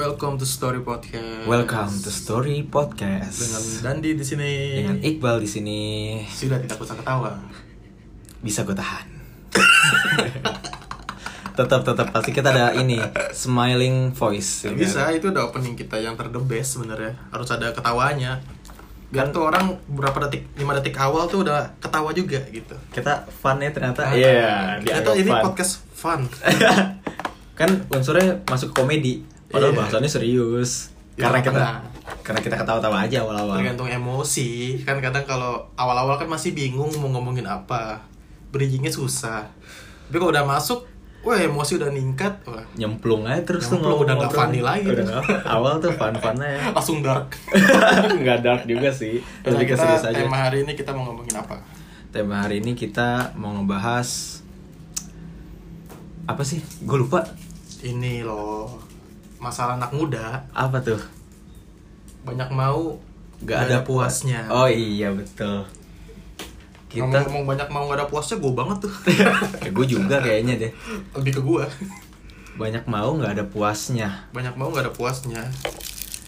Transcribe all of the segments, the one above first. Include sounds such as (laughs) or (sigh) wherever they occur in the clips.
Welcome to Story Podcast. Welcome to Story Podcast. Dengan Dandi di sini. Dengan Iqbal di sini Sudah tidak usah ketawa. bisa gue tahan. (laughs) tetap tetap pasti kita ada ini smiling voice. ya Ya kan? bisa, itu udah opening kita yang ter the best sebenarnya. Harus ada ketawanya. Biar tuh orang berapa detik, 5 detik awal tuh udah ketawa juga gitu. Kita funnya ternyata. Iya. Nah, Kita tuh dianggap ini fun. podcast fun. (laughs) kan unsurnya masuk komedi. Padahal Iya. bahasannya serius. Di Karena kita tengah-tengah. karena kita ketawa-tawa aja awal-awal. Tergantung emosi. Kan kadang kalau awal-awal kan masih bingung mau ngomongin apa. Bridgingnya susah. Tapi kalau udah masuk, wah emosi udah ningkat. Wah, Nyemplung aja terus Nyemplung, tuh udah nggak ngobrol. funny lagi. Udah nggak- awal tuh fun-funnya (laughs) ya. langsung dark. nggak dark juga sih Nah, lebih ke kita, serius aja tema hari ini kita mau ngomongin apa? tema hari ini kita mau ngebahas apa sih gue lupa Ini loh masalah anak muda apa tuh banyak mau Nggak nggak ada puasnya. oh iya betul Kita kita ngomong banyak mau nggak ada puasnya gue banget tuh. (laughs) gue juga kayaknya deh Lebih ke gue. banyak mau nggak ada puasnya Banyak mau nggak ada puasnya.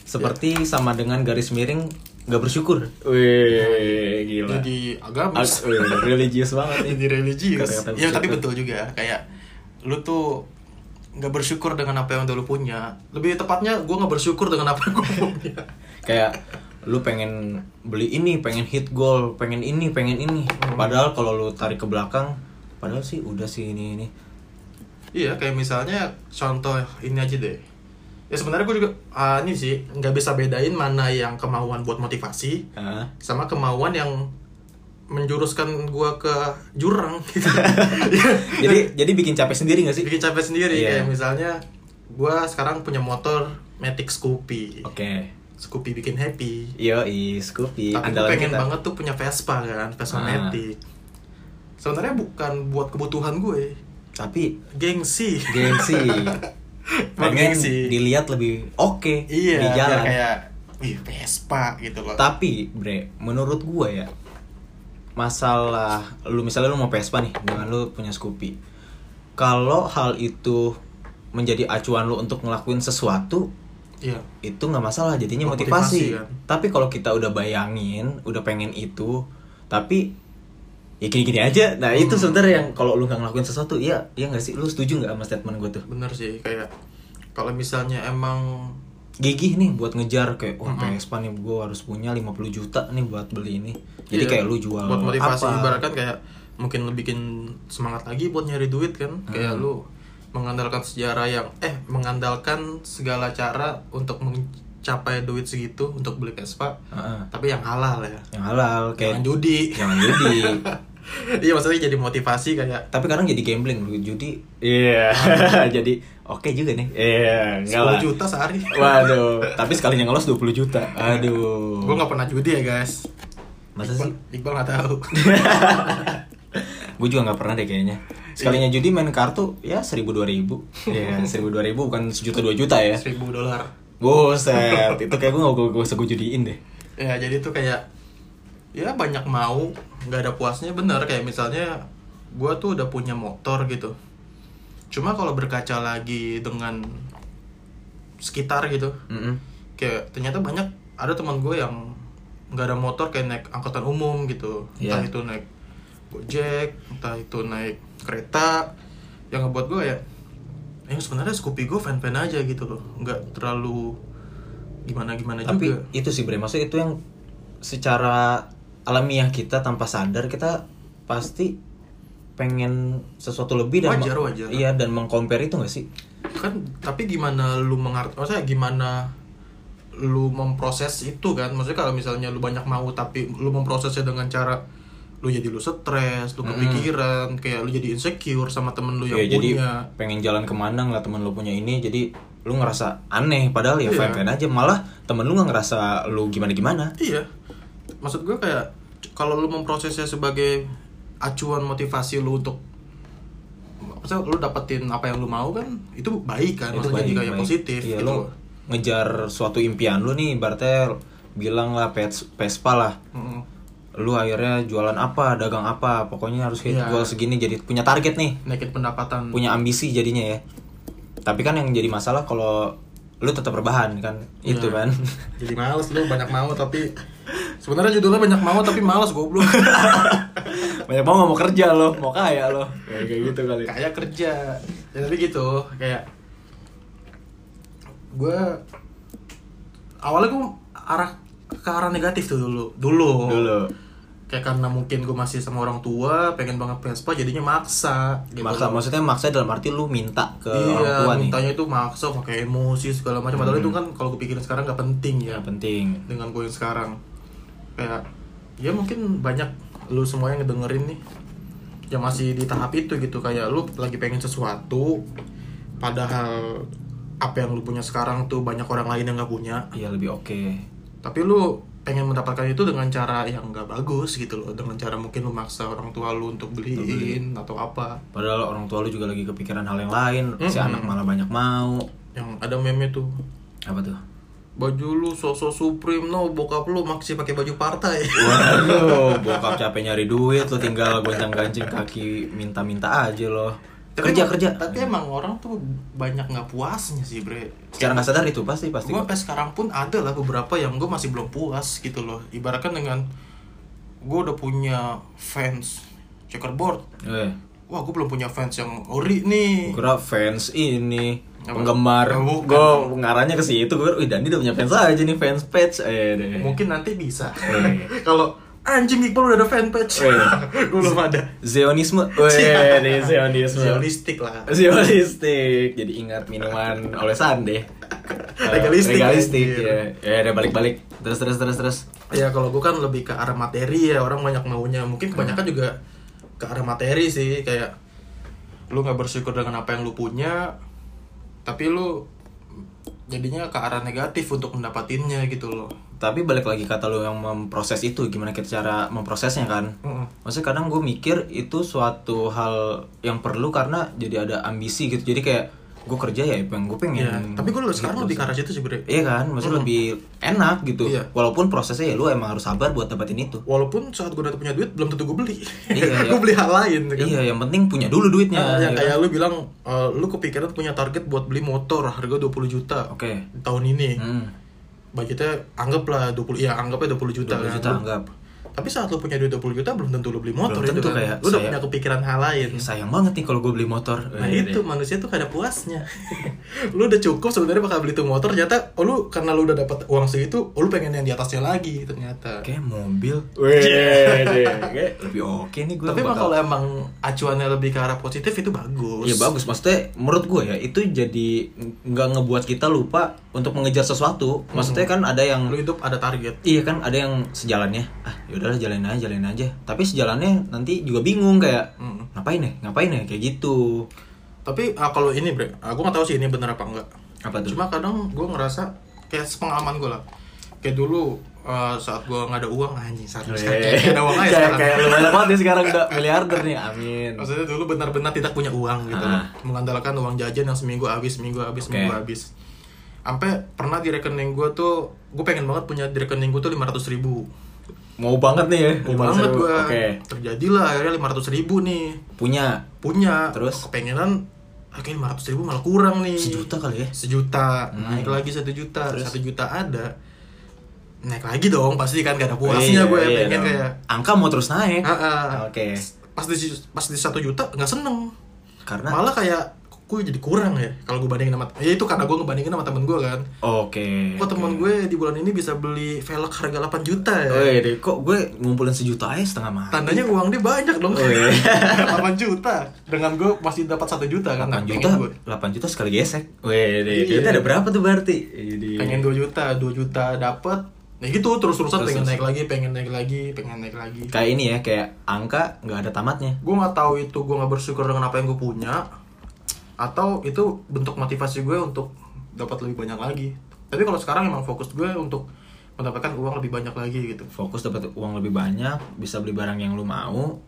seperti sama dengan garis miring nggak bersyukur wih gila Jadi agamis. Ag- wih, religius banget Jadi ini religius. Kata-kata Ya tapi bersyukur. betul juga kayak lu tuh nggak bersyukur dengan apa yang udah lu punya. Lebih tepatnya gue nggak bersyukur dengan apa yang gue (laughs) punya. kayak lu pengen beli ini, pengen hit goal, pengen ini, pengen ini. Padahal kalau lu tarik ke belakang, padahal sih udah sih ini ini. Iya, kayak misalnya contoh ini aja deh. Ya sebenarnya gue juga ah, ini sih nggak bisa bedain mana yang kemauan buat motivasi Ah, sama kemauan yang menjuruskan gue ke jurang. (laughs) gitu. Iya. jadi jadi bikin capek sendiri gak sih? Bikin capek sendiri Iya. kayak misalnya gue sekarang punya motor Matic Scoopy. Oke. Scoopy bikin happy. Yo, i Tapi Scoopy gue andalan pengen kita. banget tuh punya Vespa kan, Vespa Ah. Matic. Sebenarnya bukan buat kebutuhan gue, Tapi gengsi. (laughs) gengsi. Buat pengen gengsi. dilihat lebih oke Iya, di biar jalan. kayak Wih, Vespa gitu loh. Tapi, Bre, menurut gua ya masalah lu misalnya lu mau Vespa nih dengan lu punya Scoopy. Kalau hal itu menjadi acuan lu untuk ngelakuin sesuatu, Iya. itu nggak masalah jadinya Buat motivasi. motivasi, kan? Tapi kalau kita udah bayangin, udah pengen itu, tapi ya gini-gini aja. Nah, Hmm. itu sebenarnya yang kalau lu nggak ngelakuin sesuatu, iya, iya nggak sih? Lu setuju nggak sama statement gue tuh? Bener sih kayak kalau misalnya emang Gigih nih buat ngejar kayak wah Hmm. Vespa nih gue harus punya 50 juta nih buat beli ini. Jadi iya, kayak lu jual buat motivasi apa? ibaratkan kayak mungkin lu bikin semangat lagi buat nyari duit kan Hmm. kayak lu mengandalkan sejarah yang eh mengandalkan segala cara untuk mencapai duit segitu untuk beli Vespa Heeh. tapi yang halal ya yang halal kayak jangan judi jangan judi (laughs) (laughs) iya maksudnya jadi motivasi kayak tapi kadang jadi gambling lu judi iya (laughs) jadi oke juga nih iya 10 juta sehari waduh tapi sekalinya ngelos 20 juta aduh gue nggak pernah judi ya guys masa Iqbal, sih (laughs) Iqbal nggak tahu gue juga nggak pernah deh kayaknya sekalinya judi main kartu ya seribu dua ribu (laughs) ya seribu dua ribu bukan sejuta dua juta ya 1000 dolar buset itu kayak gue nggak gue usah gue judiin deh ya jadi tuh kayak ya banyak mau nggak ada puasnya bener kayak misalnya gue tuh udah punya motor gitu cuma kalau berkaca lagi dengan sekitar gitu Mm-mm. kayak ternyata banyak ada teman gue yang nggak ada motor kayak naik angkutan umum gitu entah Iya. itu naik gojek entah itu naik kereta yang ngebuat gue ya yang sebenarnya Scoopy gue fan-fan aja gitu loh nggak terlalu gimana gimana tapi juga itu sih bre maksudnya itu yang secara alamiah kita tanpa sadar kita pasti pengen sesuatu lebih dan Wajar, wajar. iya dan mengcompare itu gak sih kan tapi gimana lu mengerti maksudnya gimana lu memproses itu kan maksudnya kalau misalnya lu banyak mau tapi lu memprosesnya dengan cara lu jadi lu stres lu kepikiran kayak lu jadi insecure sama temen lu yang ya jadi punya pengen jalan kemana ngeliat temen lu punya ini jadi lu ngerasa aneh padahal ya Iya. fine fine aja malah temen lu nggak ngerasa lu gimana gimana iya maksud gue kayak c- kalau lu memprosesnya sebagai acuan motivasi lu untuk maksudnya lu dapetin apa yang lu mau kan itu baik kan maksudnya jadi kayak positif Iya, gitu lu loh. ngejar suatu impian lu nih ibaratnya bilang lah Pes- Vespa lah Mm-mm. lu akhirnya jualan apa dagang apa pokoknya harus hit Iya. goal segini jadi punya target nih naikin pendapatan punya ambisi jadinya ya tapi kan yang jadi masalah kalau lu tetap berbahan kan itu Iya. kan (laughs) jadi males lu banyak mau tapi sebenarnya judulnya banyak mau tapi males (laughs) goblok banyak banget mau kerja lo mau kaya lo kayak kayak gitu kali Ya, kayak kerja ya tapi gitu kayak gue awalnya gue arah ke arah negatif tuh dulu dulu, dulu kayak karena mungkin gue masih sama orang tua pengen banget Vespa jadinya maksa gitu. maksa maksudnya maksa dalam arti lu minta ke orang iya tua nih Hmm. mintanya itu maksa pakai emosi segala macam padahal itu kan kalau gue pikirin sekarang nggak penting ya yang penting dengan gue yang sekarang kayak ya mungkin banyak lu semua yang ngedengerin nih yang masih di tahap itu gitu kayak lu lagi pengen sesuatu padahal apa yang lu punya sekarang tuh banyak orang lain yang nggak punya iya lebih oke tapi lu pengen mendapatkan itu dengan cara yang nggak bagus gitu loh dengan cara mungkin lu maksa orang tua lu untuk beliin atau apa padahal orang tua lu juga lagi kepikiran hal yang lain si Mm-mm. anak malah banyak mau yang ada meme tuh apa tuh baju lu sosok supreme no bokap lu masih pakai baju partai (laughs) Waduh, (laughs) bokap capek nyari duit, lo tinggal goncang-gancing kaki minta-minta aja lo. kerja emang- kerja. tapi emang orang tuh banyak nggak puasnya sih bre Secara nggak sadar itu pasti pasti. gue sampai sekarang pun ada lah beberapa yang gue masih belum puas gitu loh ibaratkan dengan gue udah punya fans checkerboard Eh, wah gue belum punya fans yang ori nih kira fans ini Apa? penggemar. Oh, bukan. Gue ngarahnya ke situ, gue, wih Dandi udah punya fans aja nih fans page. Eh deh. mungkin nanti bisa Eh. (laughs) kalau anjing Iqbal udah ada fanpage Eh. (laughs) gue belum ada (laughs) Zionisme. Iya. Eh deh, Zionisme. Zionistik lah Zionistik. Jadi ingat minuman oleh Sande. Eh, (laughs) Legalistik, Legalistik anjir. ya. Ya udah balik-balik. Terus terus terus terus. ya kalau gue kan lebih ke arah materi ya orang banyak maunya mungkin Hmm. kebanyakan juga ke arah materi sih kayak lu nggak bersyukur dengan apa yang lu punya tapi lu jadinya ke arah negatif untuk mendapatinnya gitu loh Tapi balik lagi kata lo yang memproses itu gimana kita cara memprosesnya kan? Maksudnya kadang gue mikir itu suatu hal yang perlu karena jadi ada ambisi gitu. Jadi kayak gue kerja ya pengen gue pengen. Iya, tapi gue Gitu sekarang lebih ke arah situ sih bre Iya kan, maksudnya lebih enak gitu. Iya. Walaupun prosesnya ya lu emang harus sabar buat dapetin itu. walaupun saat gue udah punya duit belum tentu gue beli (laughs) Iya, iya. gue beli hal lain kan Iya, yang penting punya dulu duitnya. Nah, yang ya kan? kayak lu bilang eh, lu kepikiran punya target buat beli motor harga 20 juta Oke. tahun ini Hmm. Iya, budgetnya anggaplah 20 ya anggapnya 20 juta 20 kan. juta Lu- anggap. tapi saat lu punya duit 20 juta belum tentu lu beli motor Belum tentu, itu kan. kayak lu udah saya- punya kepikiran hal lain Ya, sayang banget nih kalau gue beli motor. nah Eh, itu manusia tuh kada puasnya (laughs) lu udah cukup sebenarnya bakal beli tuh motor ternyata oh lu karena lu udah dapat uang segitu oh, lu pengen yang di atasnya lagi ternyata Kayak mobil. Wih, (laughs) deh. Kayak lebih oke nih gue. tapi emang kalau emang acuannya lebih ke arah positif itu bagus Iya bagus, maksudnya menurut gue ya itu jadi nggak ngebuat kita lupa untuk mengejar sesuatu. Maksudnya kan ada yang lu hidup ada target iya kan ada yang sejalannya. Ah yaudahlah jalanin aja, jalanin aja. Tapi sejalannya nanti juga bingung kayak Mm. ngapain ya, ngapain ya kayak gitu. tapi ah, kalau ini bre aku nggak tahu sih ini bener apa enggak Apa tuh? cuma kadang gue ngerasa kayak pengalaman gue lah kayak dulu eh, saat gue nggak ada uang anjing saat Eh, sekarang (laughs) kayak ada uang aja kayak sekarang. kayak lu banyak banget nih sekarang udah miliarder nih, amin. Maksudnya dulu benar-benar tidak punya uang gitu Ah. loh. Mengandalkan uang jajan yang seminggu habis, seminggu habis, Oke. seminggu habis. Sampai pernah di rekening gue tuh, gue pengen banget punya di rekening gue tuh 500 ribu. Mau banget nih ya. Mau banget Oke. gue. Terjadilah akhirnya 500 ribu nih. Punya Punya. Terus? Kepengenan, akhirnya 500 ribu malah kurang nih. sejuta kali ya. Sejuta. Naik lagi satu juta. Terus? Satu juta ada. Naik lagi dong, pasti kan gak ada puasnya gue Iya, iya pengen dong. kayak. angka mau terus naik. "Ah, ah." Oke. Pas di pas di satu juta nggak seneng. Karena malah kayak gue jadi kurang ya kalau gue bandingin sama ya itu karena gue ngebandingin sama temen gue kan Oke. Oh, iya. kok temen gue di bulan ini bisa beli velg harga 8 juta ya Woi, deh, kok gue ngumpulin sejuta aja setengah mah. tandanya uang dia banyak dong Oh, (laughs) 8 iya. juta dengan gue masih dapat satu juta kan 8 Pengen juta, gue- 8 juta sekali gesek. Woi, Iya. deh, duitnya ada berapa tuh berarti? Jadi pengen 2 juta 2 juta dapat ya gitu terus terusan Terus-terusan. pengen naik lagi pengen naik lagi pengen naik lagi kayak ini ya, kayak angka nggak ada tamatnya. gue nggak tahu itu gue nggak bersyukur dengan apa yang gue punya atau itu bentuk motivasi gue untuk dapat lebih banyak lagi tapi kalau sekarang emang fokus gue untuk mendapatkan uang lebih banyak lagi gitu Fokus dapat uang lebih banyak, bisa beli barang yang lu mau.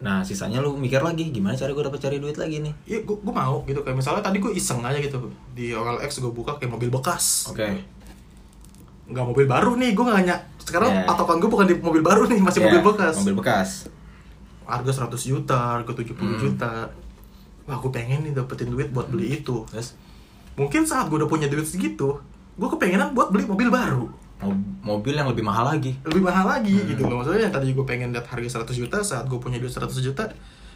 Nah, sisanya lu mikir lagi gimana cara gue dapat cari duit lagi nih. Iya, gue, gue mau gitu kayak misalnya tadi gue iseng aja gitu di OLX gue buka kayak mobil bekas Oke. nggak mobil baru nih gue nggak nyak sekarang Ya. patokan gue bukan di mobil baru nih masih Ya, mobil bekas mobil bekas harga 100 juta harga 70 juta wah gue pengen nih dapetin duit buat beli itu terus mungkin saat gue udah punya duit segitu gue kepengenan buat beli mobil baru mo- mobil yang lebih mahal lagi lebih mahal lagi Hmm. gitu loh maksudnya yang tadi gue pengen lihat harga 100 juta saat gue punya duit 100 juta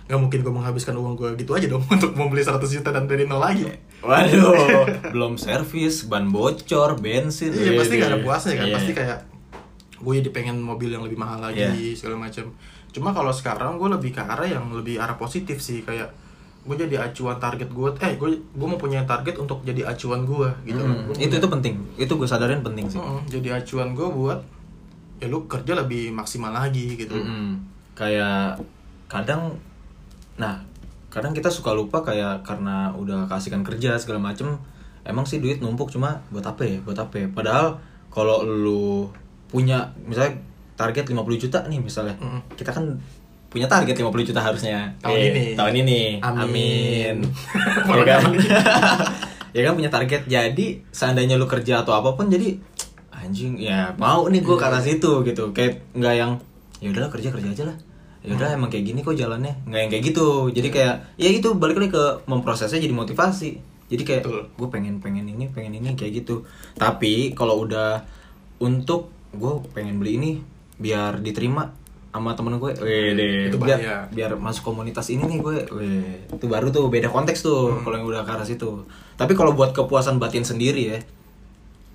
nggak mungkin gue menghabiskan uang gue gitu aja dong (laughs) untuk membeli 100 juta dan dari nol lagi Iya, waduh (laughs) belum servis ban bocor bensin iya pasti Iya, gak ada puasnya kan iya. pasti kayak gue jadi pengen mobil yang lebih mahal lagi Iya. segala macam cuma kalau sekarang gue lebih ke arah yang lebih arah positif sih kayak gue jadi acuan target gue eh gue gue mau punya target untuk jadi acuan gue gitu loh. Mm, Gua itu itu penting itu gue sadarin penting sih Mm-mm, jadi acuan gue buat ya lu kerja lebih maksimal lagi gitu Mm-mm. kayak kadang nah kadang kita suka lupa kayak karena udah kasihkan kerja segala macem emang sih duit numpuk cuma buat apa ya buat apa ya padahal kalau lu punya misalnya target 50 juta nih misalnya Mm. kita kan punya target 50 juta harusnya Tahun Eh, ini. tahun ini Amin. (laughs) ya kan (laughs) ya kan punya target jadi seandainya lu kerja atau apapun jadi anjing ya mau nih gue ke arah situ gitu kayak nggak yang ya udahlah kerja kerja aja lah ya udah emang kayak gini kok jalannya nggak yang kayak gitu jadi kayak ya itu balik lagi ke memprosesnya jadi motivasi jadi kayak Betul. gue pengen pengen ini pengen ini kayak gitu tapi kalau udah untuk gue pengen beli ini biar diterima sama temen gue Wede. Itu biar, bahaya. biar masuk komunitas ini nih gue Wede. itu baru tuh beda konteks tuh Hmm. kalau yang udah ke arah situ tapi kalau buat kepuasan batin sendiri ya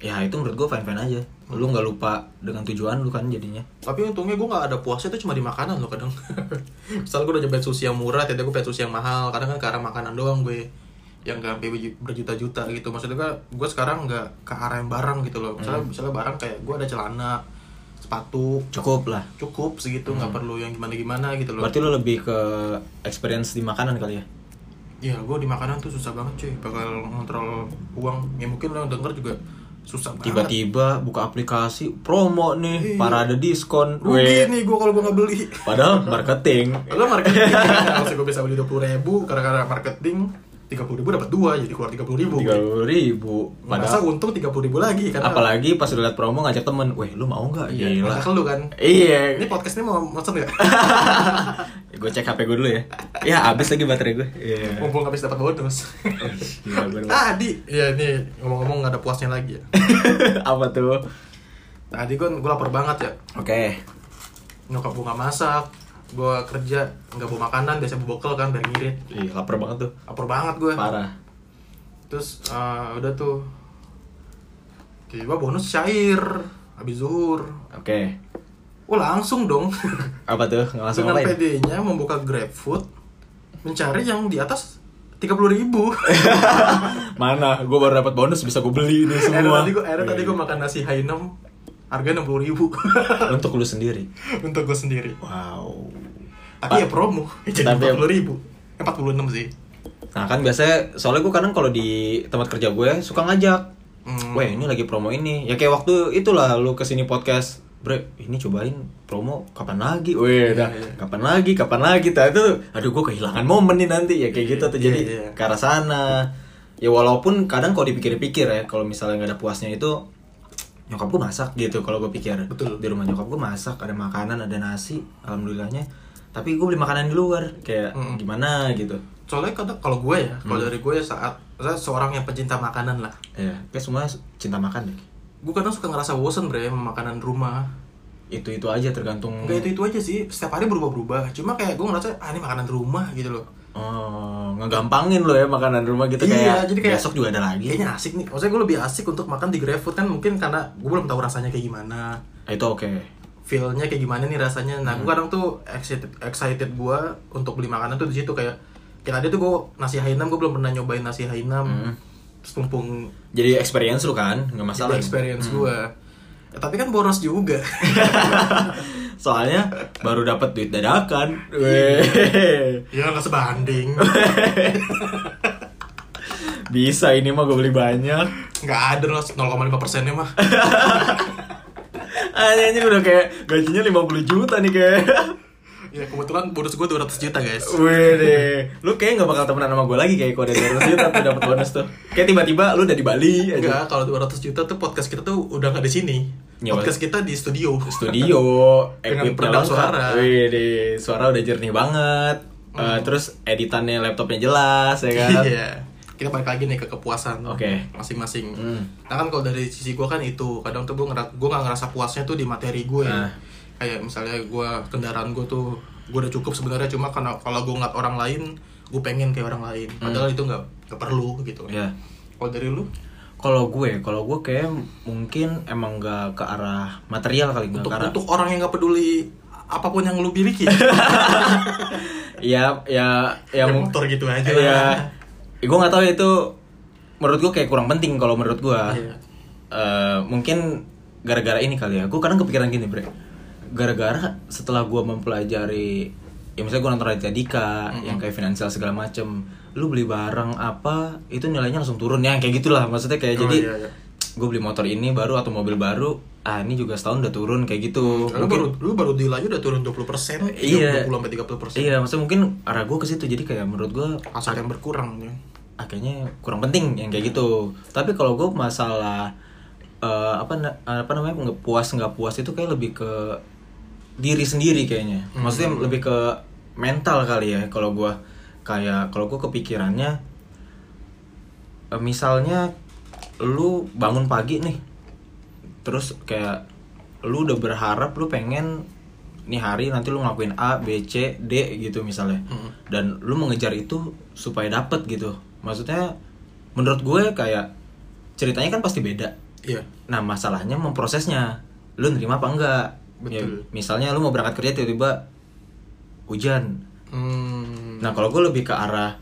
ya itu menurut gue fine fine aja Hmm. lu nggak lupa dengan tujuan lu kan jadinya tapi untungnya gue nggak ada puasnya itu cuma di makanan loh kadang (laughs) misal gue udah nyobain sushi yang murah tiba gue pengen sushi yang mahal kadang kan ke arah makanan doang gue yang gak sampai berju- berjuta-juta gitu maksudnya kan gue sekarang nggak ke arah yang barang gitu loh misalnya misalnya barang kayak gue ada celana sepatu cukup lah cukup segitu nggak perlu yang gimana-gimana gitu loh berarti lu lebih ke experience di makanan kali ya Iya, gue di makanan tuh susah banget cuy, bakal ngontrol uang. Ya mungkin lo yang denger juga susah banget. tiba-tiba buka aplikasi promo nih Iya. parade diskon Rugi Weh. nih gue kalau gue nggak beli. Padahal marketing. Lo marketing, harusnya gue bisa beli dua puluh ribu, karena marketing tiga puluh ribu dapat dua, jadi keluar tiga puluh ribu. Tiga puluh ribu. Masa Padahal untung tiga puluh ribu lagi kan? apalagi ya. pas udah liat promo ngajak temen, weh lu mau nggak? Iya, Gila. masa lu kan. Ini Iya. podcast ini mau mesen (laughs) nggak? Gue cek HP gue dulu ya. Ya abis lagi baterai gue. Iya. Mumpung habis dapat (laughs) bonus. Gila, gua udah- Tadi, ya ini ngomong-ngomong nggak ada puasnya lagi ya. (laughs) Apa tuh? Tadi gue gue lapar banget ya. Oke. Nyokap gue nggak masak, gue kerja nggak bawa makanan, biasa bawa bekal kan biar ngirit. Ih, lapar banget tuh. Lapar banget gue. Parah. Terus eh, udah tuh tiba bonus syair habis zuhur. Oke. Oh langsung dong. Apa ya? tuh? Nggak langsung Dengan ngapain? PD-nya membuka GrabFood mencari yang di atas 30.000 ribu. (laughs) Iya, Mana? Gue baru dapat bonus bisa gue beli ini semua. Oh, iya, tadi gue tadi gue makan nasi Hainem harga 60.000 ribu (laughs) Iya. Untuk lu sendiri. untuk gue sendiri. Wow. Tapi ya promo jadi Iya, Tapi- 40.000 ribu. Eh, 46 sih. Nah kan biasanya soalnya gue kadang kalau di tempat kerja gue suka ngajak, Hmm. weh ini lagi promo ini, ya kayak waktu itulah lu kesini podcast, bre ini cobain promo kapan lagi, weh Iya, dah, iya. kapan lagi, kapan lagi, Nah, itu aduh gue kehilangan momen nih nanti ya kayak gitu tuh Iya, jadi iya. ke arah sana. Ya walaupun kadang kalau dipikir-pikir ya kalau misalnya nggak ada puasnya itu nyokap gue masak gitu kalau gue pikir Betul. di rumah nyokap gue masak ada makanan ada nasi alhamdulillahnya tapi gue beli makanan di luar kayak Mm-mm. gimana gitu Soalnya kadang kalau gue ya, kalau Hmm. dari gue saat saya seorang yang pecinta makanan lah. Ya, kayak semua cinta makan deh. Gue kadang suka ngerasa bosen bre sama makanan rumah. Itu-itu aja tergantung Enggak itu itu aja sih, setiap hari berubah-berubah. Cuma kayak gue ngerasa ah ini makanan rumah gitu loh. Oh, ngegampangin lo ya makanan rumah gitu Iya, kayak, jadi kayak- Iya. besok juga ada lagi. Kayaknya asik nih. Maksudnya gue lebih asik untuk makan di GrabFood kan mungkin karena gue belum tahu rasanya kayak gimana. Ah, Itu oke. Feel-nya kayak gimana nih rasanya. Nah, gue kadang tuh excited excited gue untuk beli makanan tuh di situ kayak kayak tadi tuh gue nasi Hainam gue belum pernah nyobain nasi Hainam. Hmm. Terus mumpung Jadi experience lu kan, jadi nggak masalah. Hmm. experience gue. Ya, tapi kan boros juga. (laughs) Soalnya baru dapat duit dadakan. Iya. Weh. (laughs) ya nggak sebanding. Bisa ini mah gue beli banyak. Nggak ada loh 0,5 persennya mah. Ah, Anjing udah kayak (laughs) gajinya 50 juta nih kayak. ya kebetulan bonus gue 200 juta guys Wih deh, lu kayaknya gak bakal temenan sama gue lagi kayak kalau ada 200 juta tuh dapet bonus tuh Kayak tiba-tiba lu udah di Bali aja Enggak, kalau 200 juta tuh podcast kita tuh udah nggak di sini. Iya, podcast kita di studio. Studio, Dengan equipnya peredam lengkap. suara. Hmm. Wih deh, suara udah jernih banget Eh, Terus editannya laptopnya jelas ya kan Iya. Kita balik lagi nih ke kepuasan. Oke. Masing-masing. Hmm. Nah kan kalau dari sisi gue kan itu kadang tuh gue ngerat gue nggak ngerasa puasnya tuh di materi gue. Nah. Kayak misalnya gue kendaraan gue tuh gue udah cukup sebenarnya cuma karena kalau gue ngeliat orang lain gue pengen kayak orang lain. Padahal itu nggak nggak perlu gitu. Hmm. Iya. Kalau dari lu Kalau gue, kalau gue kayak mungkin emang gak ke arah material kali nggak untuk ke arah untuk orang yang nggak peduli apapun yang lu miliki. Ya, ya, (laughs) ya, Kayak mung- motor gitu aja. (laughs) Iya. lah. gue nggak tahu ya, itu menurut gue kayak kurang penting kalau menurut gue. Iya. Eh, mungkin gara-gara ini kali ya. Gue kadang kepikiran gini, Bre. Gara-gara setelah gue mempelajari ya misalnya gue nonton Raditya Dika yang kayak finansial segala macem lu beli barang apa itu nilainya langsung turun ya kayak gitulah maksudnya kayak Oh, jadi iya, iya. gue beli motor ini baru atau mobil baru ah ini juga setahun udah turun kayak gitu Lu baru lu baru deal aja udah turun 20 persen, 20 Iya. sampai 30 persen. iya maksudnya mungkin arah gue ke situ jadi kayak menurut gue Aset yang berkurang ya. akhirnya kurang penting yang kayak gitu tapi kalau gue masalah eh, apa na- apa namanya nggak puas nggak puas itu kayak lebih ke diri sendiri kayaknya maksudnya lebih ke mental kali ya kalau gue kayak kalau gue kepikirannya eh, misalnya lu bangun pagi nih terus kayak lu udah berharap lu pengen nih hari nanti lu ngelakuin A, B, C, D gitu misalnya dan lu mengejar itu supaya dapet gitu maksudnya menurut gue kayak ceritanya kan pasti beda Iya. nah masalahnya memprosesnya lu nerima apa enggak Ya, Betul. misalnya lu mau berangkat kerja tiba-tiba hujan Hmm. Nah kalau gue lebih ke arah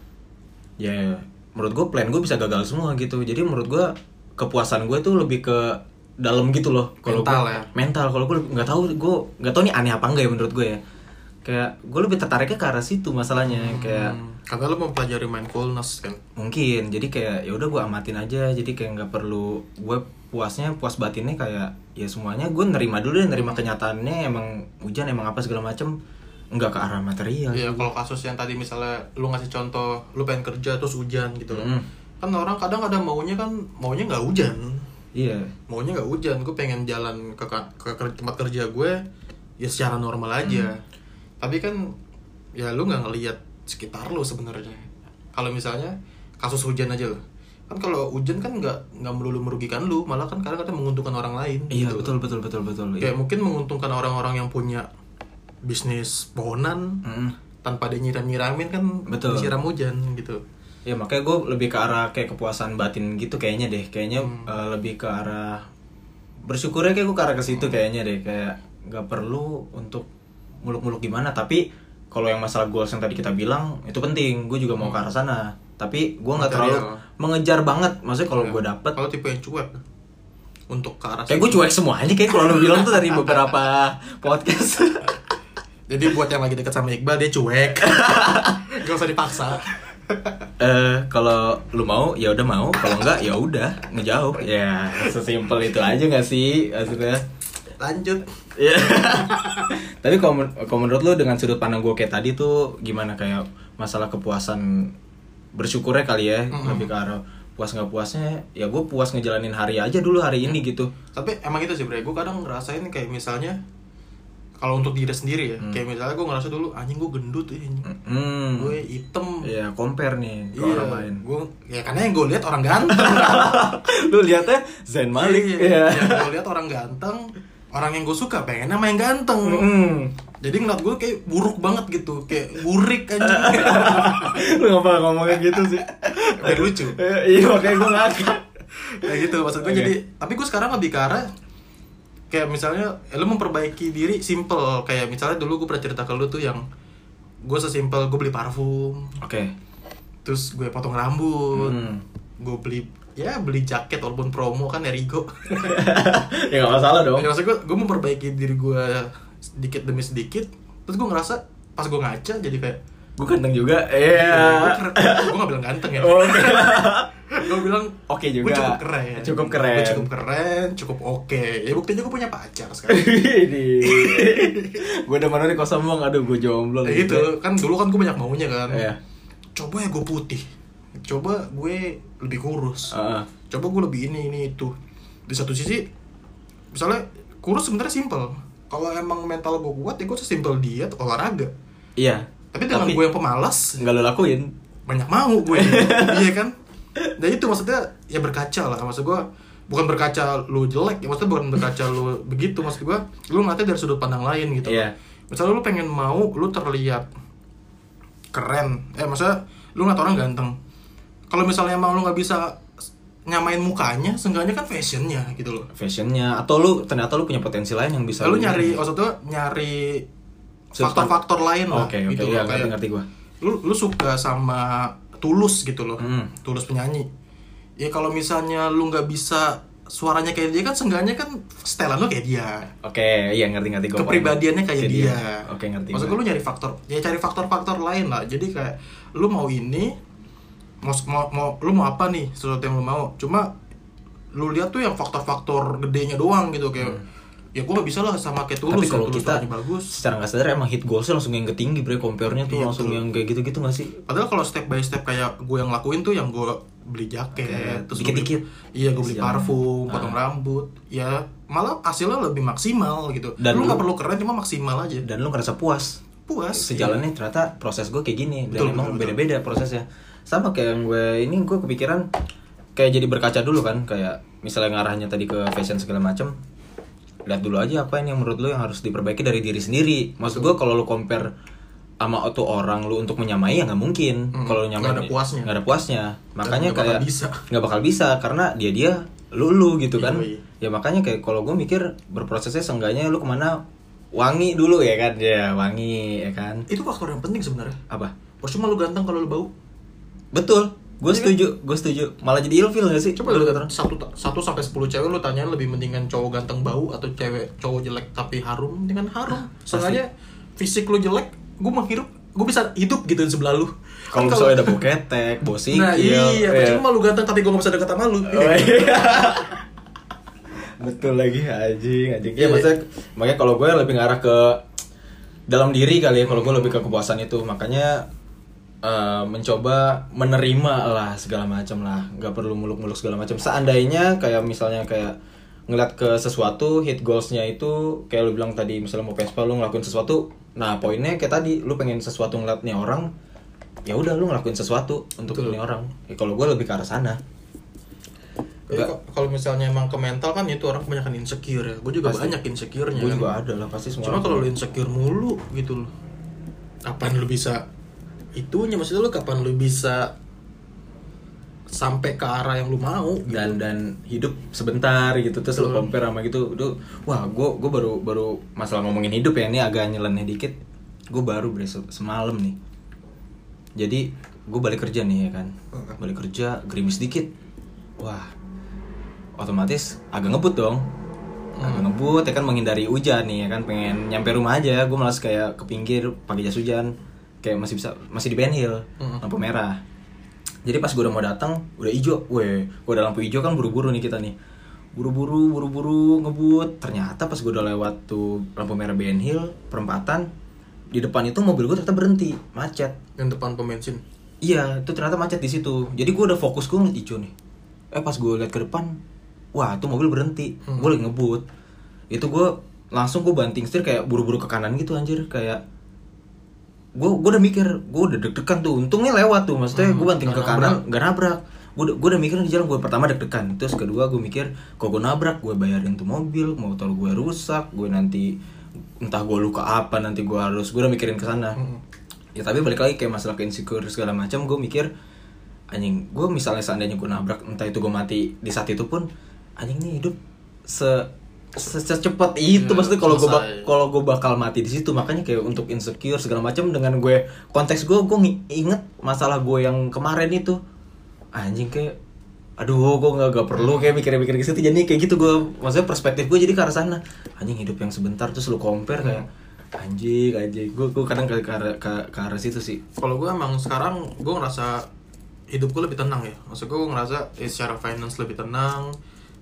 ya menurut gue plan gue bisa gagal semua gitu. Jadi menurut gue kepuasan gue tuh lebih ke dalam gitu loh. Kalau Mental gua- ya? Mental. Kalau gue nggak tahu gue nggak tahu nih aneh apa enggak ya menurut gue ya. Kayak gue lebih tertariknya ke arah situ masalahnya kayak Hmm. Karena lu mempelajari mindfulness kan. mungkin jadi kayak ya udah gue amatin aja jadi kayak nggak perlu gue puasnya puas batinnya kayak ya semuanya gue nerima dulu deh nerima kenyataannya emang hujan emang apa segala macem nggak ke arah material Iya, kalau kasus yang tadi misalnya lu ngasih contoh, lu pengen kerja terus hujan gitu loh. Mm. Kan orang kadang ada maunya kan maunya nggak hujan. iya Maunya nggak hujan, gue pengen jalan ke, ka- ke, ker- tempat kerja gue ya secara normal aja. Tapi kan ya lu nggak ngelihat sekitar lu sebenarnya. Kalau misalnya kasus hujan aja loh. Kan kalau hujan kan nggak nggak melulu merugikan lu, malah kan kadang-kadang menguntungkan orang lain. iya gitu loh. betul betul betul betul iya. Kayak mungkin menguntungkan orang-orang yang punya bisnis pohonan Mm. tanpa dia nyiram-nyiramin kan Betul. disiram hujan gitu. Ya makanya gue lebih ke arah kayak kepuasan batin gitu kayaknya deh. Kayaknya eh, lebih ke arah bersyukurnya kayak gue ke arah ke situ kayaknya deh. Kayak nggak perlu untuk muluk-muluk gimana. Tapi kalau yang masalah goals yang tadi kita bilang itu penting. Gue juga mau ke arah sana. Tapi gue nggak terlalu Material. mengejar banget. Maksudnya kalau gue dapet, Kalau tipe yang cuek untuk ke arah kayak gue cuek semuanya. Kayak kalau lu bilang tuh dari beberapa podcast. (laughs) Jadi buat yang lagi dekat sama Iqbal dia cuek. Gak usah dipaksa. Eh kalau lu mau ya udah mau, kalau enggak ya udah ngejauh. Ya sesimpel itu aja nggak sih maksudnya. Lanjut. Iya. Tapi kalau men- kalau menurut lu dengan sudut pandang gue kayak tadi tuh gimana kayak masalah kepuasan bersyukurnya kali ya lebih ke arah puas nggak puasnya ya gue puas ngejalanin hari aja dulu hari Iya. ini gitu Tapi emang itu sih bre, gue kadang ngerasain kayak misalnya kalau untuk diri sendiri ya, kayak misalnya gue ngerasa dulu anjing gue gendut ya, anjing. hmm gue hitam, ya compare nih ke iya, orang lain (laughs) gue ya karena yang gue lihat orang ganteng, lu liatnya Zain Malik Iya. ya Yang gue lihat orang ganteng, orang yang gue suka pengennya main ganteng. Mm. Jadi ngeliat gue kayak buruk banget gitu, kayak burik (laughs) aja. lu ngapa ngomongnya gitu sih Biar lucu. (laughs) Eh, iya makanya gue ngakak Kayak gitu maksud gue Oke. jadi, tapi gue sekarang lebih ke arah kayak misalnya eh, lu memperbaiki diri simple kayak misalnya dulu gue pernah cerita ke lu tuh yang gue sesimpel gue beli parfum oke terus gue potong rambut Hmm. gue beli ya beli jaket walaupun promo kan erigo (laughs) (laughs) ya nggak masalah dong Ya, maksud gue, gue memperbaiki diri gue sedikit demi sedikit Terus gue ngerasa pas gue ngaca jadi kayak gue ganteng juga iya (laughs) Oh, Gue gak bilang ganteng ya Oke. gue bilang Oke gue juga. cukup keren Cukup keren. Gue cukup keren cukup oke ya buktinya gue punya pacar sekarang (laughs) gue udah mana nih kok sombong aduh gue jomblo gitu ya itu kan dulu kan gue banyak maunya kan Iya. coba ya gue putih coba gue lebih kurus Heeh. coba gue lebih ini ini itu di satu sisi misalnya kurus sebenarnya simple kalau emang mental gue kuat ya gue sesimpel diet olahraga iya tapi dengan gue yang pemalas nggak lo lakuin banyak mau (laughs) gue iya kan dan itu maksudnya ya berkaca lah maksud gue bukan berkaca lu jelek ya maksudnya bukan berkaca lu begitu maksud gue lu ngeliatnya dari sudut pandang lain gitu Iya. misalnya lu pengen mau lu terlihat keren eh maksudnya lu ngeliat orang ganteng kalau misalnya emang lu nggak bisa nyamain mukanya seenggaknya kan fashionnya gitu loh fashionnya atau lu ternyata lu punya potensi lain yang bisa lalu nyari maksudnya nyari Sudut faktor-faktor lain lah oke oke gitu loh, iya ngerti kayak- ngerti gue lu lu suka sama tulus gitu loh Hmm. tulus penyanyi ya kalau misalnya lu nggak bisa suaranya kayak dia kan seenggaknya kan setelan lu kayak dia oke iya ngerti ngerti gue kepribadiannya kayak dia, oke ngerti maksud gua. gue lu nyari faktor ya cari faktor-faktor lain lah jadi kayak lu mau ini mau mau, mau lu mau apa nih sesuatu yang lu mau cuma lu lihat tuh yang faktor-faktor gedenya doang gitu kayak ya gue nggak bisa lah sama kayak tulus Hmm. tapi ya, kalau tulus kita suaranya bagus secara nggak sadar emang hit goalsnya langsung yang ketinggi bre compare-nya tuh Iya, langsung betul. yang kayak gitu-gitu nggak sih Padahal kalau step by step kayak gue yang lakuin tuh yang gue beli jaket, Oke, terus gua beli- dikit-dikit. Ah. Iya, gue beli Siang. parfum, potong rambut. Ya, malah hasilnya lebih maksimal gitu. Dan lu lu- nggak perlu keren cuma maksimal aja. dan lu ngerasa puas Puas. sejalannya ternyata proses gue kayak gini Iya. Betul, dan emang betul, betul. beda-beda prosesnya sama kayak yang gue ini gue kepikiran kayak jadi berkaca dulu kan kayak misalnya ngarahnya tadi ke fashion segala macem lihat dulu aja apa ini yang menurut lu yang harus diperbaiki dari diri sendiri maksud gue kalau lu compare sama tuh orang lu untuk menyamai ya nggak mungkin Mm, kalau lu nggak ada nyamai puasnya. nggak ada puasnya makanya nggak bakal kayak bisa. nggak bakal bisa karena dia dia lu lu gitu kan Iya, iya. ya makanya kayak kalau gue mikir berprosesnya seenggaknya lu kemana wangi dulu ya kan ya wangi ya kan Itu faktor yang penting sebenarnya. apa Percuma lu ganteng kalau lu bau. Iya betul kan? gue setuju gue setuju malah jadi ilfil gak sih Coba lu kata orang. satu satu sampai sepuluh cewek lu tanyain lebih mendingan cowok ganteng bau atau cewek cowok jelek tapi harum dengan harum. Ah, Soalnya fisik lu jelek, gue menghirup, gue bisa hidup gitu di sebelah lu. Kan kalau misalnya ada bau ketek bau (laughs) sikil Nah iya, ya. percuma lu ganteng tapi gue gak bisa deket sama lu Oh, iya. (laughs) betul lagi anjing anjing ya maksudnya makanya kalau gue lebih ngarah ke dalam diri kali ya kalau gue lebih ke kepuasan itu makanya eh, mencoba menerima lah segala macam lah nggak perlu muluk-muluk segala macam seandainya kayak misalnya kayak ngeliat ke sesuatu hit goalsnya itu kayak lu bilang tadi misalnya mau Vespa lu ngelakuin sesuatu nah poinnya kayak tadi lu pengen sesuatu ngeliat nih orang ya udah lu ngelakuin sesuatu untuk Betul. ini orang ya, kalau gue lebih ke arah sana Jadi kok- Kalau misalnya emang ke mental kan itu orang kebanyakan insecure ya. Gue juga Pasti. banyak insecure-nya. gue kan. juga ada lah pasti semua Cuma kalau lu insecure mulu gitu loh. Kapan lu bisa itunya maksudnya lu kapan lu bisa sampai ke arah yang lu mau gitu. dan dan hidup sebentar gitu terus lo compare sama gitu itu wah gue gue baru baru masalah ngomongin hidup ya ini agak nyeleneh dikit gue baru bre se- semalam nih jadi gue balik kerja nih ya kan balik kerja gerimis dikit wah otomatis agak ngebut dong agak ngebut ya kan menghindari hujan nih ya kan pengen nyampe rumah aja gue malas kayak ke pinggir pakai jas hujan kayak masih bisa masih di Ben Hill lampu merah jadi pas gue udah mau datang udah ijo weh gue udah lampu ijo kan buru-buru nih kita nih buru-buru buru-buru ngebut ternyata pas gue udah lewat tuh lampu merah Ben Hill perempatan di depan itu mobil gue ternyata berhenti macet yang depan pom bensin. Iya, itu ternyata macet di situ. Jadi gue udah fokus gue ngeliat hijau nih. Eh pas gue lihat ke depan, wah itu mobil berhenti. Gue lagi ngebut. Itu gue langsung gue banting setir kayak buru-buru ke kanan gitu anjir kayak gue gue udah mikir gue udah deg-degan tuh untungnya lewat tuh maksudnya gue banting ke kanan gak nabrak gue udah, gue udah mikir di jalan gue pertama deg-degan terus kedua gue mikir kok gue nabrak gue bayarin tuh mobil motor gue rusak gue nanti entah gue luka apa nanti gue harus gue udah mikirin ke sana ya tapi balik lagi kayak masalah ke insecure segala macam gue mikir anjing gue misalnya seandainya gue nabrak entah itu gue mati di saat itu pun anjing nih hidup se se- secepat itu Iya, maksudnya kalau gue bak- selesai. kalau gue bakal mati di situ makanya kayak untuk insecure segala macam dengan gue konteks gue gue ngi- inget masalah gue yang kemarin itu anjing kayak aduh gue nggak nggak perlu kayak mikir-mikir ke situ jadi kayak gitu gue maksudnya perspektif gue jadi ke arah sana anjing hidup yang sebentar terus lu compare kayak Hmm. anjing anjing gue gue kadang ke, ke, arah- ke, ke arah situ sih Kalau gue emang sekarang gue ngerasa hidup gue lebih tenang ya maksud gue ngerasa eh, secara finance lebih tenang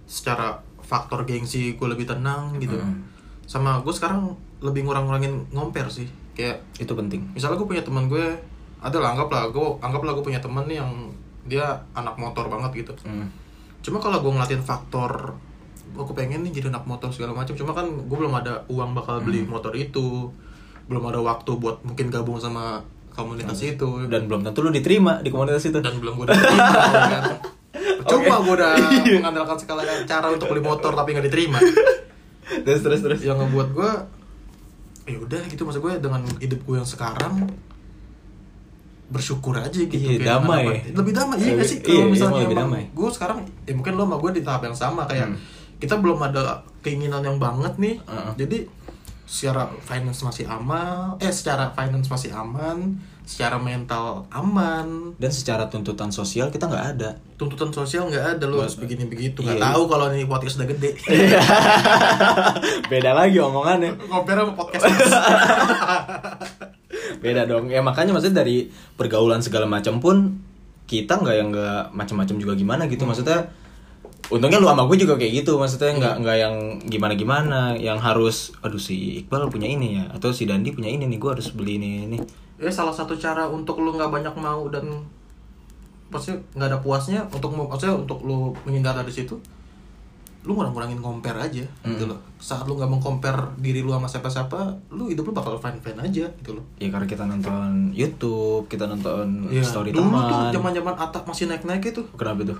secara faktor gengsi gue lebih tenang gitu Mm. sama gue sekarang lebih ngurang-ngurangin ngomper sih kayak itu penting misalnya gue punya teman gue ada lah anggaplah gue anggaplah gue punya teman nih yang dia anak motor banget gitu Hmm. cuma kalau gue ngeliatin faktor aku pengen nih jadi anak motor segala macam cuma kan gue belum ada uang bakal beli motor itu belum ada waktu buat mungkin gabung sama komunitas itu dan belum tentu lu diterima di komunitas (laughs) itu dan belum gue udah kan. (laughs) cuma gue udah Iya. mengandalkan segala cara untuk beli motor tapi nggak (laughs) diterima terus terus terus yang ngebuat gue ya udah gitu maksud gue dengan hidup gue yang sekarang bersyukur aja gitu Kayak Iya, damai. kenapa- lebih damai iya Lebih- gak sih iya, kalau iya, misalnya lebih emang damai. Hmm. gue sekarang ya mungkin lo sama gue di tahap yang sama kayak kita belum ada keinginan yang banget nih Heeh. jadi secara finance masih aman eh secara finance masih aman secara mental aman dan secara tuntutan sosial kita nggak ada tuntutan sosial nggak ada Iya. lo harus begini begitu nggak Iya, iya. tahu kalau nih podcast udah (laughs) gede beda lagi omongannya compare sama podcast beda dong ya makanya maksudnya dari pergaulan segala macam pun kita nggak yang nggak macam-macam juga gimana gitu Hmm. maksudnya untungnya lu sama gue juga kayak gitu maksudnya nggak nggak yang gimana gimana yang harus aduh si Iqbal punya ini ya atau si Dandi punya ini nih gue harus beli ini ini ya salah satu cara untuk lu nggak banyak mau dan maksudnya nggak ada puasnya untuk mau- maksudnya untuk lu menghindar dari situ lu ngurang-ngurangin compare aja gitu loh saat lu nggak mengcompare diri lu sama siapa-siapa lu hidup lu bakal fine-fine aja gitu loh ya karena kita nonton YouTube kita nonton Iya, story dulu tuh teman zaman-zaman atap masih naik-naik itu kenapa tuh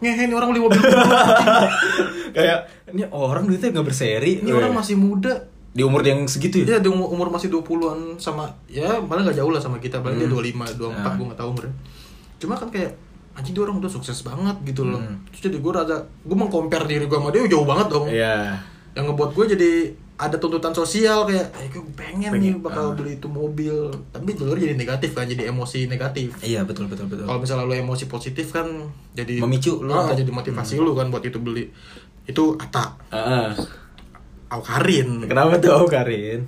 ngehe nih orang beli (laughs) mobil (laughs) kayak ini orang duitnya nggak berseri ini orang masih muda di umur dia yang segitu ya Iya, dia umur, umur masih 20-an sama ya paling gak jauh lah sama kita, paling dia 25, 24 Nah. gue gak tahu umurnya. Cuma kan kayak anjing dia orang udah sukses banget gitu loh. Hmm. Terus jadi gue rada gue mengcompare diri gue sama dia oh, jauh banget dong. Iya. Yang ngebuat gue jadi ada tuntutan sosial kayak eh gue pengen, nih Pengen, ah." bakal beli itu mobil. Tapi jalur jadi negatif kan, jadi emosi negatif. iya betul betul betul Kalau misalnya lo emosi positif kan jadi Memicu lu Ah, untuk- Hmm. jadi motivasi lu kan buat itu beli. Itu Atta, Ah, ah. Aukarin. kenapa tuh Karin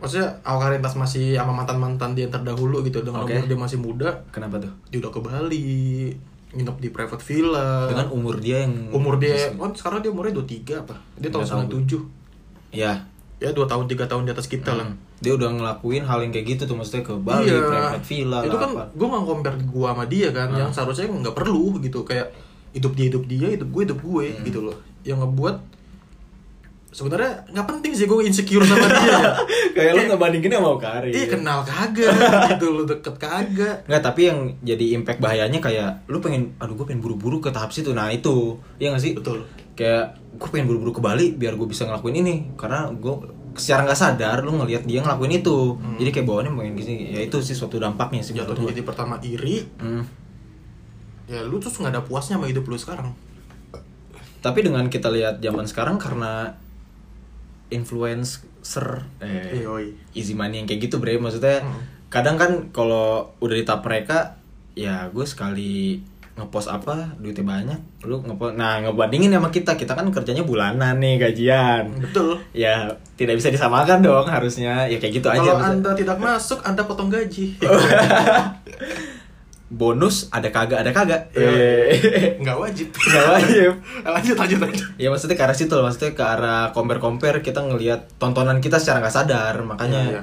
maksudnya awal tas masih sama mantan mantan dia yang terdahulu gitu dengan Oke. umur dia masih muda kenapa tuh dia udah ke Bali nginep di private villa dengan umur dia yang umur dia kan sekarang dia umurnya 23 apa dia tahun Nggak tahu 97 ya ya 2 tahun 3 tahun di atas kita lah Iya. dia udah ngelakuin hal yang kayak gitu tuh maksudnya ke Hmm. Bali private villa itu lah kan (laughs) apa Ah. gue nggak compare gua sama dia kan yang seharusnya nggak perlu gitu kayak hidup dia hidup dia hidup gue hidup gue Hmm. gitu loh yang ngebuat sebenarnya nggak penting sih gue insecure sama dia (laughs) ya. kayak lo ngebandinginnya sama Karin Ih kenal kagak gitu lo deket kagak Iya, kan. Nggak, tapi yang jadi impact bahayanya kayak lu pengen aduh gue pengen buru-buru ke tahap situ nah itu ya nggak sih Betul. kayak gue pengen buru-buru ke Bali biar gue bisa ngelakuin ini karena gue secara nggak sadar lu ngelihat dia ngelakuin itu jadi kayak bawaannya pengen gini ya itu sih suatu dampaknya sih Hmm. menurut jatuhnya gua. jadi pertama iri Hmm. ya lu terus nggak ada puasnya sama hidup lu sekarang tapi dengan kita lihat zaman sekarang karena influencer eh, Yoi. easy money yang kayak gitu bre maksudnya kadang kan kalau udah di tahap mereka ya gue sekali ngepost apa duitnya banyak lu ngepost nah ngebandingin sama kita kita kan kerjanya bulanan nih gajian betul ya tidak bisa disamakan dong harusnya ya kayak gitu aja Oh. kalau maksudnya. anda tidak masuk anda potong (laughs) gaji bonus ada kagak ada kagak Iya. Eh. nggak wajib Nggak wajib. (laughs) lanjut lanjut lanjut Ya maksudnya ke arah situ lah, maksudnya ke arah compare-compare kita ngelihat tontonan kita secara nggak sadar, makanya Iya, iya.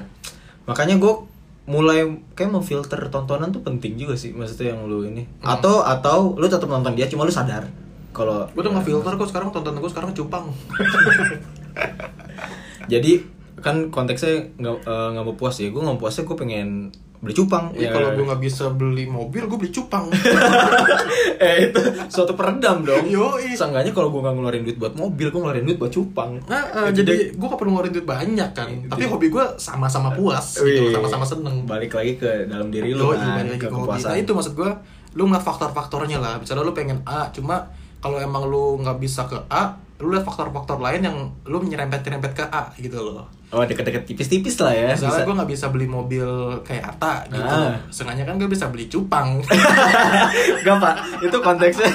makanya gue mulai kayak mau filter tontonan tuh penting juga sih, maksudnya yang lu ini. Hmm. Atau atau lu tetap nonton dia cuma lu sadar kalau gue udah nggak filter kok sekarang tonton gue sekarang (laughs) cupang jadi kan konteksnya nggak eh, nggak mau puas ya, gue nggak mau puasnya gue pengen beli cupang. Ih, Iya, kalau gue nggak bisa beli mobil gue beli cupang (laughs) eh itu suatu peredam dong. Yoi. Seenggaknya kalau gue nggak ngeluarin duit buat mobil, gue ngeluarin duit buat cupang. Nah, eh, jadi gue gak perlu ngeluarin duit banyak kan tapi hobi gue sama-sama puas gitu Iya, Wih. sama-sama seneng balik lagi ke dalam diri Yoi, lu kan, balik lagi ke ke hobi. kepuasan Nah, itu maksud gue lu ngeliat faktor-faktornya lah misalnya lu pengen A cuma kalau emang lu nggak bisa ke A lu lihat faktor-faktor lain yang lu menyerempet-nyerempet ke A gitu loh oh deket-deket tipis-tipis lah ya misalnya bisa (laughs) gue nggak bisa beli mobil kayak Ata gitu Ah. sengaja kan gue bisa beli (laughs) cupang gak pak itu konteksnya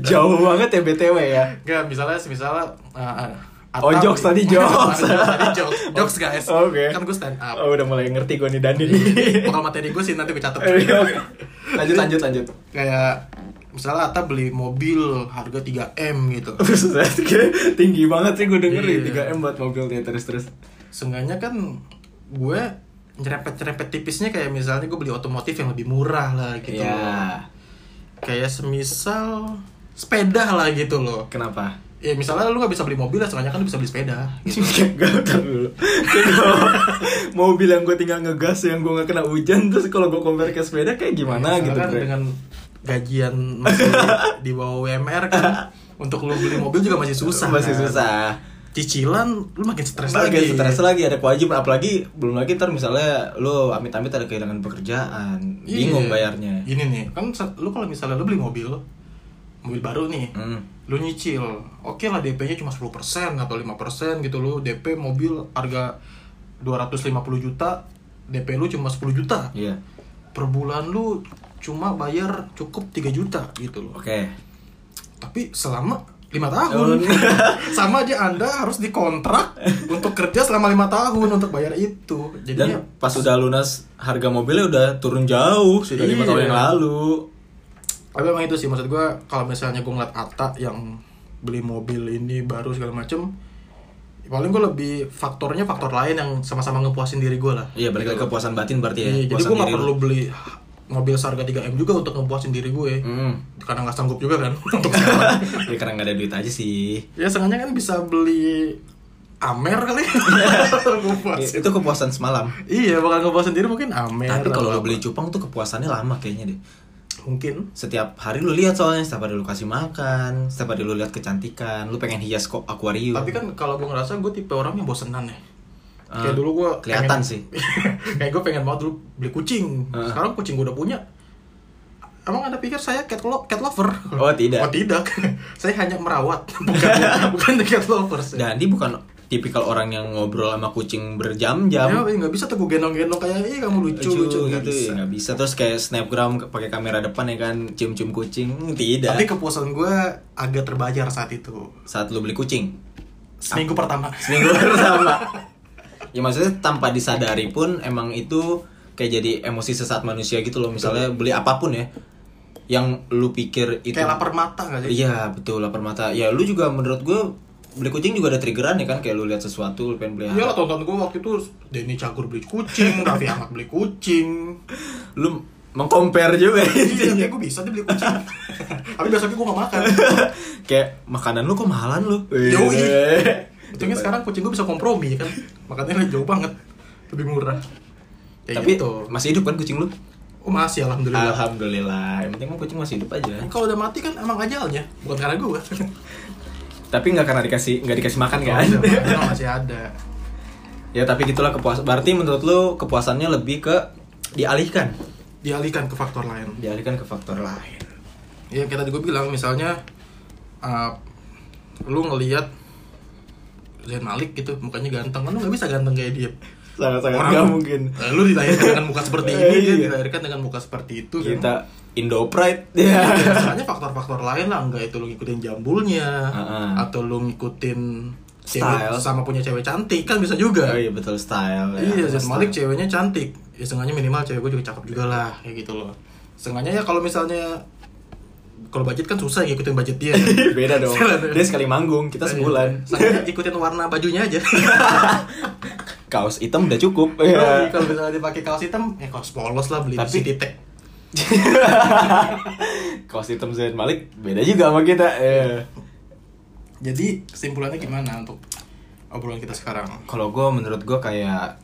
jauh banget ya btw eh, ya nggak misalnya misalnya Oh, jokes tadi, (laughs) jokes. jokes tadi (laughs) jokes. Jokes guys. Oke. Kan gue stand up. Oh, udah mulai ngerti gue nih Dandi. (laughs) Bakal materi gue sih nanti gue (laughs) catat. lanjut lanjut lanjut. Kayak misalnya Ata beli mobil harga 3M gitu. Tinggi banget sih gue denger Iya. 3M buat mobilnya terus terus. Seenggaknya kan gue nyerempet-nyerempet tipisnya kayak misalnya gue beli otomotif yang lebih murah lah gitu. Iya. Kayak semisal sepeda lah gitu loh. Kenapa? Ya misalnya lu gak bisa beli mobil, seenggaknya kan lu bisa beli sepeda. Gitu. Gak tau dulu Kalau Mobil yang gue tinggal ngegas Yang gue gak kena hujan Terus kalau gue compare ke sepeda Kayak (laughs) gimana Misalnya gitu kan Bre. dengan gajian masih (laughs) di bawah UMR (laughs) kan untuk lu beli mobil juga masih susah Masih kan. susah cicilan lu makin stres Ntar lagi lagi stres lagi ada kewajiban apalagi belum lagi ntar misalnya lo amit-amit ada kehilangan pekerjaan Iya. bingung bayarnya Gini nih, kan se- lu kalau misalnya lu beli mobil, mobil baru nih, Hmm. lu nyicil. Oke lah DP-nya cuma 10% atau 5% gitu lu DP mobil harga 250 juta, DP lu cuma 10 juta. Iya. Per bulan lu cuma bayar cukup 3 juta gitu loh. Oke. Tapi selama 5 tahun. (laughs) Sama aja Anda harus dikontrak untuk kerja selama 5 tahun untuk bayar itu. Jadinya Dan pas udah lunas harga mobilnya udah turun jauh sudah Iya. lima tahun yang lalu. tapi emang itu sih maksud gue kalau misalnya gue ngeliat Atta yang beli mobil ini baru segala macem paling gue lebih faktornya faktor lain yang sama-sama ngepuasin diri gue lah Iya balik lagi ke puasan batin berarti ya. Iya, jadi puasan gue nggak diri perlu lu. beli mobil seharga 3 m juga untuk ngepuasin diri gue (laughs) Hmm. karena nggak sanggup juga kan (laughs) untuk sekarang. Ya karena nggak ada duit aja sih. ya sengaja kan bisa beli Amer kali (laughs) Itu ngepuasin kepuasan semalam. iya bakal ngepuasin diri mungkin Amer Tapi kalau atau lo beli cupang tuh kepuasannya lama kayaknya deh. apa. mungkin Setiap hari lu lihat soalnya, setiap hari lu kasih makan, setiap hari lu lihat kecantikan, lu pengen hias kok akuarium. tapi kan kalau gue ngerasa gue tipe orang yang bosenan ya Eh, kayak dulu gue kelihatan sih. (laughs) kayak gue pengen banget dulu beli kucing Heeh. sekarang kucing gue udah punya emang anda pikir saya cat, lo- cat lover Oh, tidak. oh tidak (laughs) saya hanya merawat (laughs) bukan bukan cat lover saya. Dandi bukan tipikal orang yang ngobrol sama kucing berjam-jam. Ya, nggak bisa tuh gue gendong-gendong kayak ih kamu lucu lucu, gitu nggak bisa. ya, nggak bisa terus kayak snapgram ke- pakai kamera depan ya kan cium-cium kucing Hmm, tidak Tapi kepuasan gue agak terbayar saat itu. saat lu beli kucing Seminggu pertama. seminggu pertama ya maksudnya tanpa disadari pun emang itu kayak jadi emosi sesat manusia gitu loh misalnya beli apapun ya yang lu pikir itu Kayak lapar mata nggak sih? iya betul lapar mata ya lu juga menurut gue beli kucing juga ada triggeran ya kan kayak lu lihat sesuatu lu pengen beli Iya lah tonton gue waktu itu Denny Cagur beli kucing, Raffi Ahmad beli kucing. lu mengcompare juga Iya, kayak gue bisa dia beli kucing. (laughs) Tapi besoknya gue gak makan. Iya. kayak makanan lu kok mahalan lu Yoi. Untungnya sekarang kucing gue bisa kompromi ya kan. Makanya jauh banget. Lebih murah. Kayak tapi Ah. gitu. masih hidup kan kucing lu Oh, masih alhamdulillah. Alhamdulillah, yang penting mah kucing masih hidup aja. Kalau udah mati kan emang ajalnya, bukan karena gue. Tapi nggak karena dikasih nggak dikasih makan kan? masih ada. (laughs) ya tapi gitulah kepuasan. Berarti menurut lu kepuasannya lebih ke dialihkan, Dialihkan ke faktor lain. dialihkan ke faktor lain. Ya kayak tadi gue bilang misalnya uh, lu ngelihat Zain Malik gitu mukanya ganteng kan lu nggak bisa ganteng kayak dia Sangat-sangat Orang- nggak mungkin. Eh, lu dilahirkan dengan muka (laughs) seperti ini Eh, dia iya. dilahirkan dengan muka seperti itu kan. Kita Indo Pride. (laughs) Ya. biasanya faktor-faktor lain lah nggak itu lu ngikutin jambulnya Heeh. atau lu ngikutin Style. cewek sama punya cewek cantik kan bisa juga Oh iya betul style. ya. iya Zain Style. Malik ceweknya cantik ya seenggaknya minimal cewek gue juga cakep juga lah kayak gitu loh seenggaknya ya kalau misalnya kalau budget kan susah ya ngikutin budget dia (laughs) Beda dong. Dia sekali manggung, kita sebulan. Seenggaknya ikutin warna bajunya aja Kaos hitam udah cukup. Yoi, (laughs) Iya. kalau misalnya dipakai kaos hitam ya kaos polos lah beli di Tapi- titik Kaos hitam Zain Malik beda juga sama kita. Iya. jadi kesimpulannya gimana untuk obrolan kita sekarang kalau gue menurut gue kayak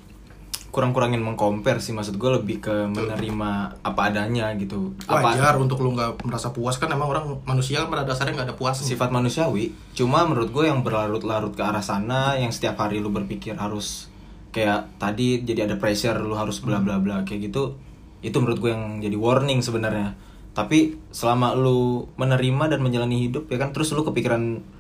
kurang-kurangin mengcompare sih maksud gue lebih ke menerima apa adanya gitu apa wajar untuk lu nggak merasa puas kan emang orang manusia kan pada dasarnya nggak ada puas sifat manusiawi cuma menurut gue yang berlarut-larut ke arah sana yang setiap hari lu berpikir harus kayak tadi jadi ada pressure lu harus bla bla bla kayak gitu itu menurut gue yang jadi warning sebenarnya tapi selama lu menerima dan menjalani hidup ya kan terus lu kepikiran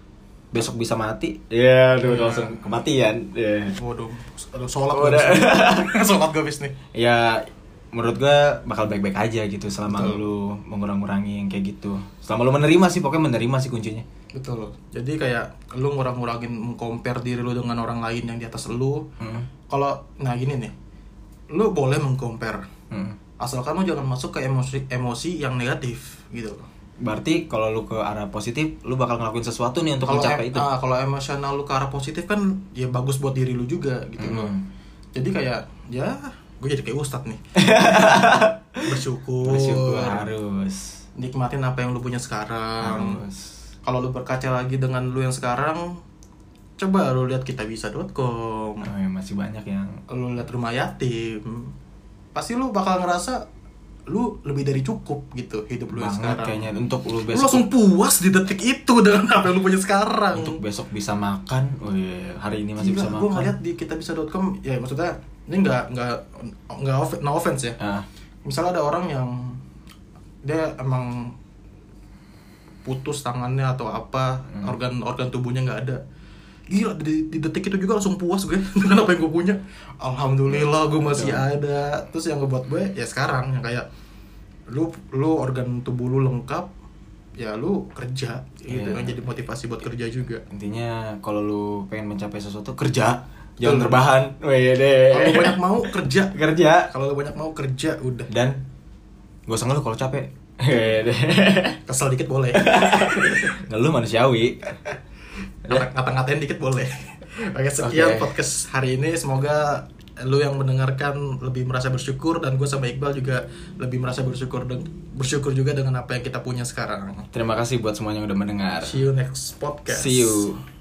besok bisa mati ya udah langsung kematian ya waduh aduh, sholat Oh, gue udah. habis. (laughs) sholat gue habis nih ya menurut gue bakal baik-baik aja gitu selama lu mengurang-ngurangi yang kayak gitu selama lu menerima sih pokoknya menerima sih kuncinya betul jadi kayak lu ngurang-ngurangin compare diri lu dengan orang lain yang di atas lu Hmm. kalau nah gini nih lu boleh mengcompare Hmm. asalkan lu jangan masuk ke emosi emosi yang negatif gitu loh Berarti kalau lu ke arah positif, lu bakal ngelakuin sesuatu nih untuk kalau mencapai em- itu. ah, kalau emosional lu ke arah positif kan ya bagus buat diri lu juga gitu loh Hmm. jadi kayak ya gue jadi kayak ustadz (laughs) nih bersyukur, Bersyukur Hmm. harus. nikmatin apa yang lu punya sekarang Harus. kalau lu berkaca lagi dengan lu yang sekarang coba lu lihat kitabisa.com Oh, ya, masih banyak yang lu lihat rumah yatim pasti lu bakal ngerasa lu lebih dari cukup gitu hidup lu yang banget sekarang kayaknya untuk lu lu besok langsung puas di detik itu dengan apa yang lu punya sekarang untuk besok bisa makan. Oh, iya, hari ini masih Gila, bisa gue makan. ngeliat di kitabisa.com ya maksudnya ini nggak nggak nggak off, no offense ya Ah, misalnya ada orang yang dia emang putus tangannya atau apa Hmm. organ organ tubuhnya nggak ada gila di, di detik itu juga langsung puas gue (laughs) dengan apa yang gue punya alhamdulillah gue masih Iya. ada terus yang ngebuat gue ya sekarang yang kayak lu lu organ tubuh lu lengkap ya lu kerja gitu Iya. kan jadi motivasi buat kerja juga intinya kalau lu pengen mencapai sesuatu kerja, jangan terbahan. Wih, deh. kalau (laughs) lu banyak mau kerja kerja kalau lu banyak mau kerja udah dan gak usah ngeluh kalau capek. (laughs) Iya, kesel dikit (laughs) boleh ngeluh manusiawi. Ngata- ngata-ngatain dikit (laughs) boleh oke sekian Oke. podcast hari ini semoga lu yang mendengarkan lebih merasa bersyukur dan gue sama Iqbal juga lebih merasa bersyukur deng- bersyukur juga dengan apa yang kita punya sekarang Terima kasih buat semuanya yang udah mendengar. see you next podcast See you.